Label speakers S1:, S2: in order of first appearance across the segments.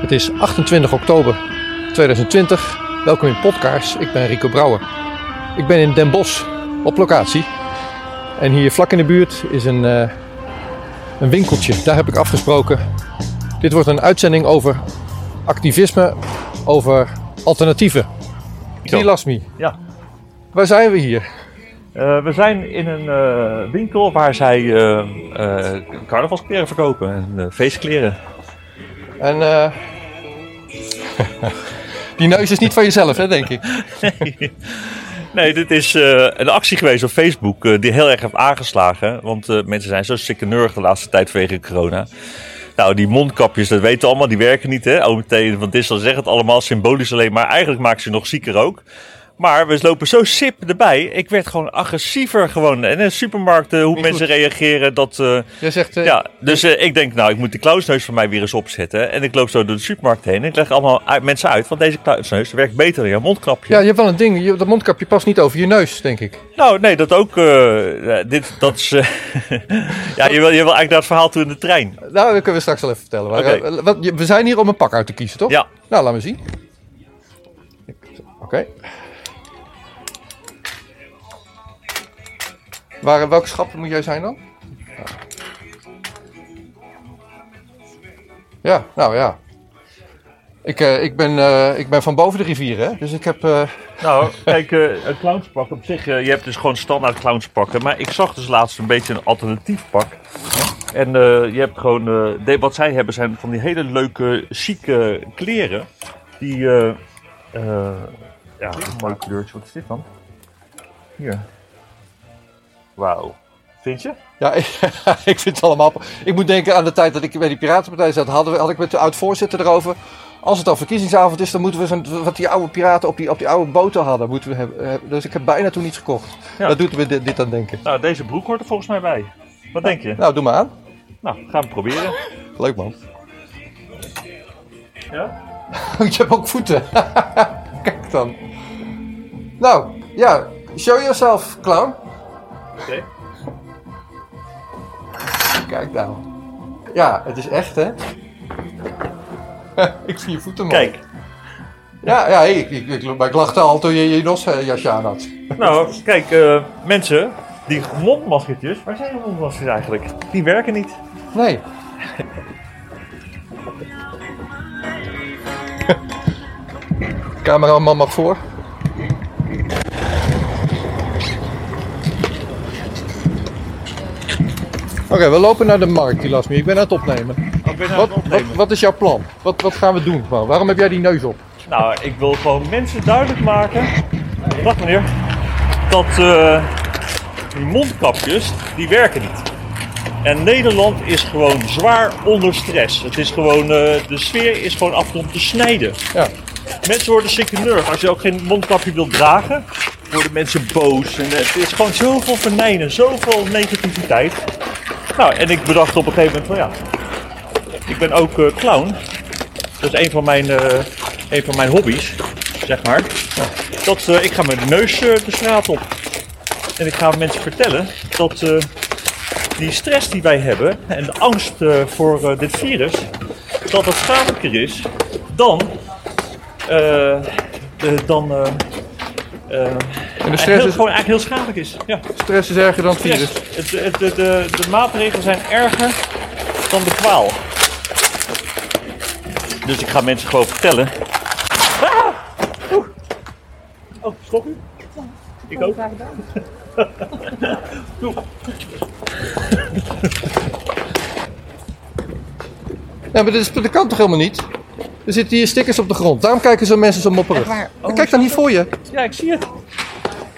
S1: Het is 28 oktober 2020. Welkom in Podkaars. Ik ben Rico Brouwer. Ik ben in Den Bosch op locatie. En hier vlak in de buurt is een, eh, een winkeltje. Daar heb ik afgesproken. Dit wordt een uitzending over activisme, over alternatieven.
S2: Zo.
S1: Tilasmi,
S2: Ja,
S1: waar zijn we hier?
S2: eh, we zijn in een eh, winkel waar zij eh, eh, carnavalskleren verkopen en eh, feestkleren.
S1: En eh, die neus is niet van jezelf, hè, denk ik.
S2: Nee, dit is eh, een actie geweest op Facebook eh, die heel erg heeft aangeslagen. Want eh, mensen zijn zo sikke neurig de laatste tijd vanwege corona. Nou, die mondkapjes, dat weten we allemaal, die werken niet. Hè? OMT en Van Dissel zeggen het allemaal symbolisch alleen, maar eigenlijk maken ze nog zieker ook. Maar we lopen zo sip erbij. Ik werd gewoon agressiever gewoon. En in supermarkten, hoe
S1: Niet
S2: mensen reageren, dat... eh,
S1: Jij zegt, eh,
S2: Ja, dus eh, ik denk, nou, ik moet die clownsneus van mij weer eens opzetten. En ik loop zo door de supermarkt heen en ik leg allemaal uit- mensen uit, want deze clownsneus werkt beter dan jouw mondkapje.
S1: Ja, je hebt wel een ding. Je- Dat mondkapje past niet over je neus, denk ik.
S2: Nou, nee, dat ook. eh, eh, dit, dat is. eh, ja, je wil, je wil eigenlijk naar het verhaal toe in de trein.
S1: Nou, dat kunnen we straks wel even vertellen. Maar,
S2: Oké.
S1: eh, wat, je- we zijn hier om een pak uit te kiezen, toch?
S2: Ja,
S1: Nou, laat me zien. Oké. Waar, eh, welke schap moet jij zijn dan? Ja, nou ja. Ik, eh, ik, ben, eh, ik ben van boven de rivier, hè? Dus ik heb... eh,
S2: nou, kijk, eh, een clownspak op zich. eh, je hebt dus gewoon standaard clownspakken. Maar ik zag dus laatst een beetje een alternatief pak. En eh, je hebt gewoon. eh, de- wat zij hebben zijn van die hele leuke, chique kleren. Die. eh, eh, ja, een mooi kleurtje. Wat is dit dan? Hier. Wauw. Vind je?
S1: Ja, ik, ik vind het allemaal. Ik moet denken aan de tijd dat ik bij die Piratenpartij zat. Hadden we, had ik met de oud-voorzitter erover. Als het al verkiezingsavond is, dan moeten we zo'n, wat die oude piraten op die, op die oude boten hadden. Moeten we hebben. Eh, Dus ik heb bijna toen iets gekocht.
S2: Ja.
S1: Dat doet me dit, dit aan denken.
S2: Nou, deze broek hoort er volgens mij bij. Wat denk je?
S1: Nou, doe maar aan.
S2: Nou, gaan we het proberen.
S1: Leuk man.
S2: Ja?
S1: Je hebt ook voeten. Kijk dan. Nou, ja. Show yourself, clown.
S2: Oké.
S1: Kijk nou. Ja, het is echt, hè? ik zie je voeten, man.
S2: Kijk,
S1: Ja, ja ik, ik, ik, maar ik lachte al toen je je nosjasje aan had.
S2: nou, kijk, eh, mensen, die mondmaskertjes, waar zijn de mondmaskers eigenlijk? Die werken niet.
S1: Nee. Cameraman mag voor. Oké, we lopen naar de markt, Ilasmi. Ik ben aan het opnemen.
S2: Ik ben
S1: Wat, wat, wat is jouw plan? Wat, wat gaan we doen? gewoon? Waarom heb jij die neus op?
S2: Nou, ik wil gewoon mensen duidelijk maken. Wacht meneer. Dat eh, die mondkapjes, die werken niet. En Nederland is gewoon zwaar onder stress. Het is gewoon, eh, de sfeer is gewoon af om te snijden.
S1: Ja.
S2: Mensen worden sikke nerg. Als je ook geen mondkapje wilt dragen, worden mensen boos. En eh, het is gewoon zoveel vernijnen, zoveel negativiteit. Nou, en ik bedacht op een gegeven moment van ja, ik ben ook eh, clown. Dat is een van mijn, eh, een van mijn hobby's, zeg maar. Dat, eh, ik ga met de neus eh, de straat op. En ik ga mensen vertellen dat eh, die stress die wij hebben en de angst eh, voor eh, dit virus, dat het schadelijker is dan eh, eh, dan. eh, eh,
S1: En de
S2: heel,
S1: stress is,
S2: gewoon eigenlijk heel schadelijk is. Ja,
S1: stress is erger dan het
S2: stress.
S1: virus.
S2: Het, het, de, de, de maatregelen zijn erger dan de kwaal. Dus ik ga mensen gewoon vertellen. Ah! Oeh. Oh, stop u. Ik ook. Doe.
S1: Ja, maar dit is, dat kan toch helemaal niet? Er zitten hier stickers op de grond. Daarom kijken zo mensen zo mopperig.
S3: waar?
S2: Oh,
S1: Maar Kijk dan hier voor je.
S2: Ja, ik zie het.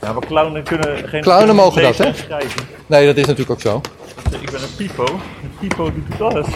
S2: Ja, maar clownen kunnen geen.
S1: Clownen mogen
S2: lezen
S1: dat,
S2: en
S1: hè?
S2: schrijven.
S1: Nee, dat is natuurlijk ook zo.
S2: Dus Ik ben een pipo. Een pipo die doet alles.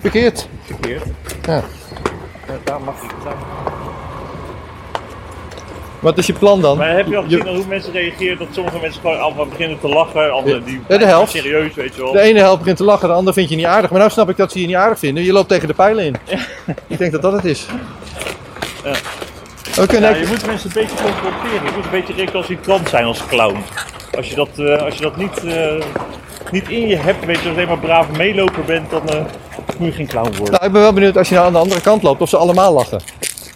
S1: Verkeerd.
S2: Verkeerd.
S1: Ja.
S2: Ja, daar mag ik. Daar
S1: Wat is je plan dan?
S2: Maar heb je al
S1: Je-
S2: gezien hoe mensen reageren? Dat sommige mensen gewoon allemaal beginnen te lachen, anderen die
S1: Ja, de helft.
S2: serieus, weet je wel.
S1: De ene helft begint te lachen, de ander vind je niet aardig. Maar nou snap ik dat ze je niet aardig vinden. Je loopt tegen de pijlen in. Ik denk dat dat het is. We kunnen
S2: Ja,
S1: ook-
S2: je moet mensen een beetje confronteren. Je moet een beetje recalcitrant zijn als clown. Als je dat, eh, als je dat niet, eh, niet in je hebt, weet je, als je alleen maar braaf meeloper bent, dan, eh, of moet je geen clown worden?
S1: Nou, ik ben wel benieuwd als je nou aan de andere kant loopt of ze allemaal lachen.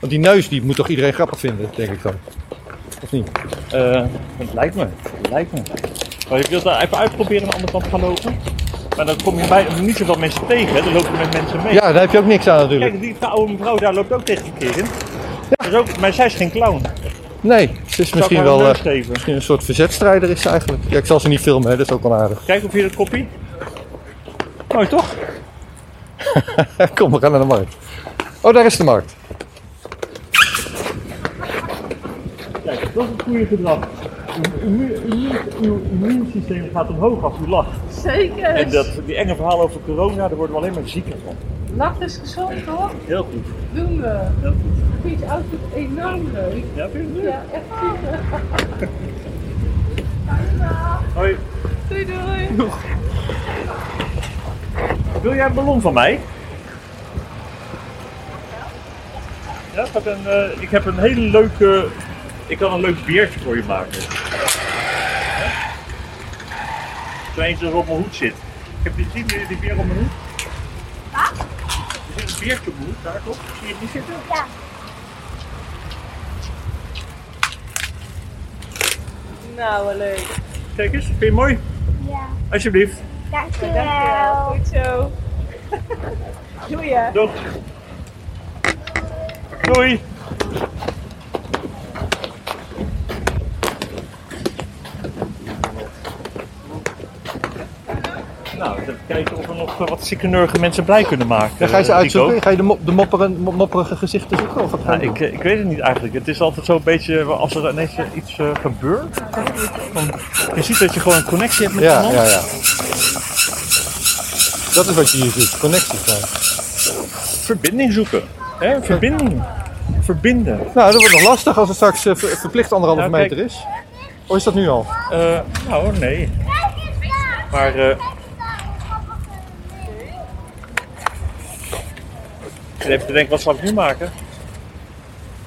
S1: Want die neus die moet toch iedereen grappig vinden, denk ik dan. Of niet?
S2: Eh, het lijkt me, het lijkt me. Maar je wilt daar even uitproberen aan de andere kant gaan lopen. Maar dan kom je bij, niet zoveel mensen tegen, hè. dan loop je met mensen mee.
S1: Ja, daar heb je ook niks aan natuurlijk.
S2: Kijk, die oude mevrouw daar loopt ook tegen de in. Dat is ook, maar zij is geen clown.
S1: Nee, ze is misschien
S2: haar een
S1: wel
S2: neus
S1: eh,
S2: geven?
S1: misschien een soort verzetstrijder is ze eigenlijk. Ja, ik zal ze niet filmen, hè, dat is ook wel aardig.
S2: Kijk of hier dat koppie. Mooi toch?
S1: Kom, we gaan naar de markt. Oh, daar is de markt.
S2: Kijk, dat is het goede gedrag. Uw, immu- immu- uw immuunsysteem gaat omhoog als u lacht.
S3: Zeker.
S2: En dat, die enge verhalen over corona, daar worden we alleen maar zieker van.
S3: Lachen is gezond hoor.
S2: Heel goed.
S3: Doen we.
S2: Heel goed.
S3: Ik vind je outfit enorm leuk.
S2: Ja, vind je het leuk?
S3: Ja, echt super.
S2: Hoi,
S3: Doei doei.
S2: wil jij een ballon van mij? Ja, ik heb een, eh, ik heb een hele leuke... Ik kan een leuk beertje voor je maken. Ja? Zo eentje dat op mijn hoed zit. Heb je gezien die, die beer op mijn hoed? Er zit een beertje op mijn hoed, daar toch? Zie je het niet zitten?
S4: Ja.
S3: Nou, wel leuk.
S2: Kijk eens, vind je het mooi?
S4: Ja,
S2: Alsjeblieft.
S3: Dankjewel.
S4: dankjewel.
S3: Goed zo. Doei hè.
S2: Doeg. Doei. Nou, even kijken of we nog eh, wat ziekenurge mensen blij kunnen maken.
S1: Ja, ga je ze
S2: eh,
S1: uitzoeken?
S2: Rico.
S1: Ga je de, mop, de mopperen, mo- mopperige gezichten zoeken? Of wat ga je
S2: Nou, ik,
S1: doen?
S2: eh, ik weet het niet eigenlijk. Het is altijd zo'n beetje, eh, als er ineens eh, iets eh, gebeurt, dan- je ziet dat je gewoon een connectie hebt met
S1: Ja,
S2: iemand.
S1: ja, ja. Dat is wat je hier ziet, connecties. maken.
S2: Verbinding zoeken. Hè? Verbinding. Verbinden.
S1: Nou, dat wordt nog lastig als het straks eh, ver- verplicht anderhalve
S2: Nou, kijk.
S1: meter is. Of is dat nu al?
S2: Eh, nou, nee.
S4: Kijk eens daar!
S2: Maar eh,
S4: Kijk eens daar, hoe grappig het is.
S2: Ik zit even te denken, wat zal ik nu maken?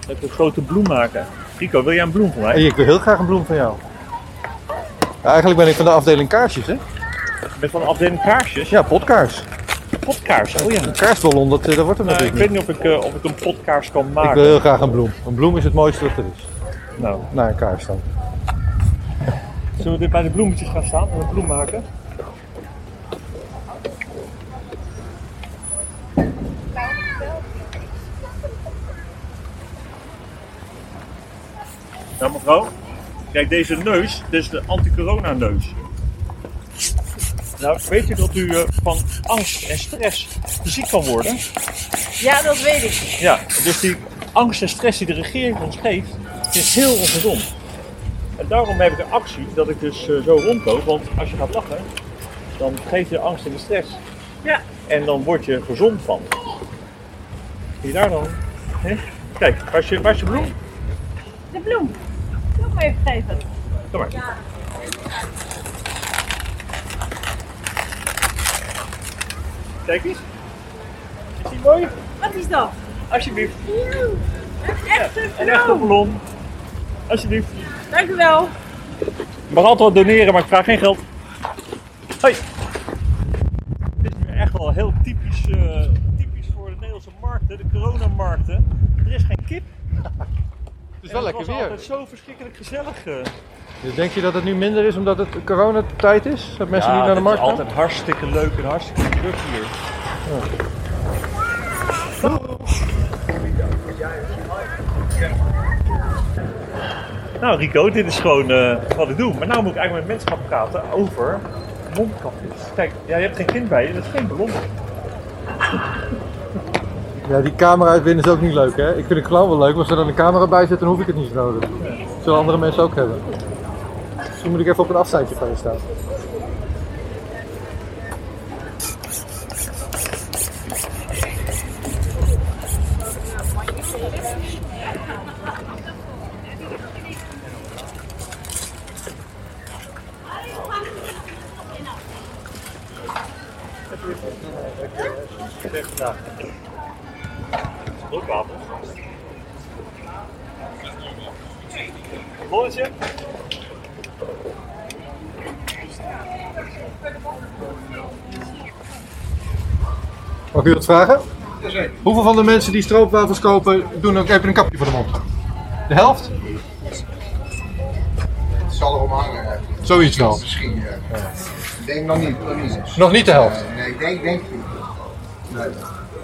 S2: Ik wil een grote bloem maken. Rico, wil jij een bloem voor mij?
S1: Hey, ik wil heel graag een bloem van jou. Ja, eigenlijk ben ik van de afdeling kaarsjes, hè?
S2: Ik ben van de afdeling kaarsjes.
S1: Ja, potkaars.
S2: Potkaars, oh ja.
S1: Een kaarsballon, dat, eh, dat wordt hem
S2: Nou, ik
S1: natuurlijk
S2: weet niet of ik, eh, of ik een potkaars kan
S1: niet. Ik
S2: maken.
S1: wil heel graag een bloem. Een bloem is het mooiste wat er is.
S2: Nou,
S1: Nou, een kaars dan.
S2: zullen we dit bij de bloemetjes gaan staan en een bloem maken? Ja, mevrouw. Kijk, deze neus, dit is de anti-corona-neus. Nou, weet u dat u eh, van angst en stress ziek kan worden?
S3: Ja, dat weet ik.
S2: Ja, dus die angst en stress die de regering ons geeft, is heel ongezond. En daarom heb ik een actie dat ik dus eh, zo rondloop. Want als je gaat lachen, dan geef je angst en de stress.
S3: Ja.
S2: En dan word je gezond van. Zie je daar dan? hè? Kijk, waar is je, waar is je bloem?
S3: De bloem. Nog maar even geven.
S2: Kom maar. Kijk eens. Is die mooi?
S3: Wat is dat?
S2: Alsjeblieft.
S3: Echt
S2: Een
S3: een
S2: echte
S3: bloem.
S2: ballon. Alsjeblieft.
S3: Dankjewel.
S2: Ik mag altijd wat doneren, maar ik vraag geen geld. Hoi. Dit is nu echt wel heel typisch, eh, typisch voor de Nederlandse markten, de coronamarkten. Er is geen kip.
S1: Het is
S2: En het was altijd zo verschrikkelijk gezellig. eh.
S1: Dus denk je dat het nu minder is omdat het coronatijd is? Dat mensen nu
S2: Ja,
S1: naar de
S2: het
S1: markt
S2: is
S1: gaan?
S2: altijd hartstikke leuk en hartstikke druk hier. Nou Rico, dit is gewoon eh, wat ik doe. Maar nou moet ik eigenlijk met mensen gaan praten over mondkapjes. Kijk, ja, je hebt geen kind bij je, dat is geen ballon.
S1: Ja, die camera uit binnen is ook niet leuk, hè? Ik vind het gewoon wel leuk, maar als er dan een camera bij zit, dan hoef ik het niet zo nodig. Dat zullen andere mensen ook hebben. Misschien moet ik even op een afstandje van je staan.
S2: Broodwafel. Bolletje?
S1: Mag ik u dat vragen? Hoeveel van de mensen die stroopwafels kopen, doen ook even een kapje voor de mond? De helft?
S5: Het zal erom hangen. hè.
S1: Zoiets wel.
S5: Misschien. ja. Ik denk nog niet. Nog niet.
S1: Oh. Nog niet de helft.
S5: Eh, nee, ik denk, denk ik niet. Nee,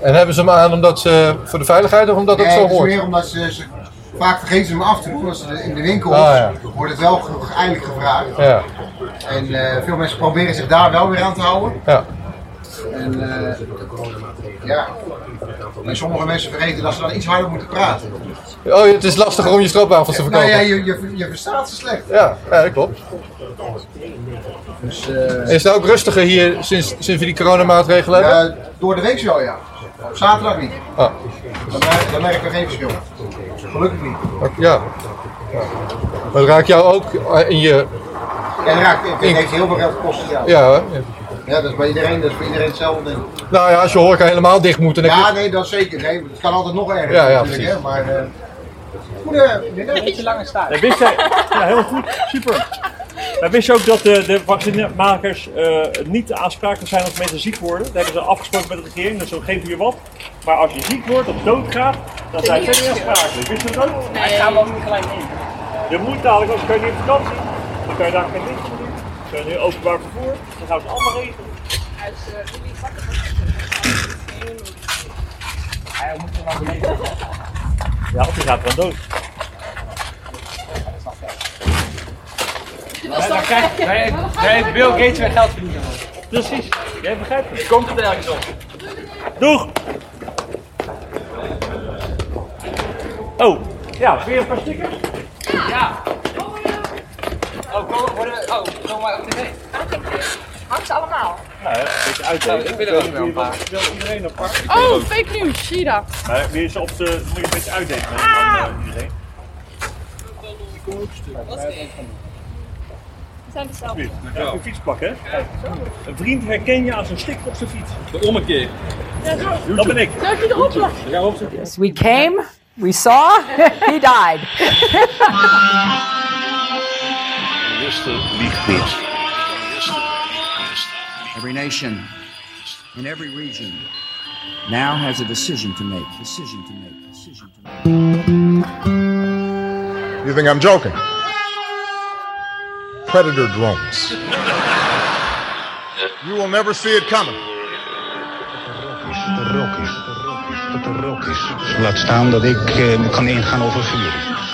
S1: En hebben ze hem aan omdat ze voor de veiligheid of omdat het
S5: Nee,
S1: zo
S5: het is
S1: hoort?
S5: meer omdat ze, ze- vaak vergeten ze hem af te doen. Als ze in de winkel
S1: Ah, ja.
S5: wordt het wel ge- eindelijk gevraagd.
S1: Ja,
S5: En eh, veel mensen proberen zich daar wel weer aan te houden.
S1: ja.
S5: En, eh, ja. en sommige mensen vergeten dat ze dan iets harder moeten praten.
S1: Oh, het is lastiger om je stroopwafels te
S5: Nou
S1: verkopen.
S5: ja,
S1: Ja,
S5: je, je, je verstaat ze slecht.
S1: ja, dat klopt.
S5: Dus, eh,
S1: En is het ook rustiger hier sinds, sinds we die coronamaatregelen hebben?
S5: ja, Eh, door de week wel ja. Op zaterdag niet.
S1: Ah,
S5: Dan, mer- dan merk ik er geen verschil. Gelukkig niet.
S1: ook- ja. ja. Maar het raakt jou ook eh, in je...
S5: En het raakt, het heeft heel veel geld gekost. Ja. Ja.
S1: Ja, hè?
S5: dat is bij iedereen, dat is voor iedereen hetzelfde. Denk ik.
S1: nou ja, als je horeca helemaal dicht moet... Dan heb je-
S5: Ja, nee, dat zeker. Nee, het kan altijd nog erger.
S1: Ja, ja,
S5: natuurlijk, hè,
S1: precies.
S5: maar, eh goedemiddag.
S2: Ja, wist jij, ja, heel goed, super. Maar wist je ook dat de, de vaccinmakers eh, niet aansprakelijk zijn als mensen ziek worden? Dat hebben ze afgesproken met de regering, dus zo geven we je wat. Maar als je ziek wordt of doodgaat, dan zijn ze niet aansprakelijk. Wist je dat ook? Nee. Je moet dadelijk, als kan je niet op vakantie, dan kan je daar geen dienst voor doen. Dan kan je nu openbaar vervoer, dan gaan we het allemaal regelen. Ja, of je gaat dan dood.
S6: Dan krijgt, daar, daar heeft Bill Gates weer geld verdiend.
S2: Precies, jij begrijpt het.
S6: Komt het ergens op?
S2: Doeg! Oh, ja, weer een paar stickers?
S6: Ja. Oh, kom, worden, oh, kom maar op tv.
S7: Hangt ze allemaal?
S2: Nou, ja, een beetje uitdelen.
S6: Oh, ik wil er ook wel een paar.
S2: Ik wil iedereen een paar.
S7: Oh, fake news, zie je dat?
S2: Maar weer eens op de. Moet je een beetje uitdelen met eh, iedereen.
S7: We zijn dezelfde.
S2: Hier, dan krijg je een fiets pakken. hè? Een vriend herken je aan zijn sticker op zijn fiets.
S6: De ommekeer.
S2: Dat ben ik.
S7: Zou ik je erop lachen?
S8: We came, we saw, he died.
S9: Every nation in every region now has a decision to make. Decision to make. Decision to make.
S10: You think I'm joking? Predator drones. You will never see it coming.
S11: Laat staan dat ik eh, kan ingaan over vuur.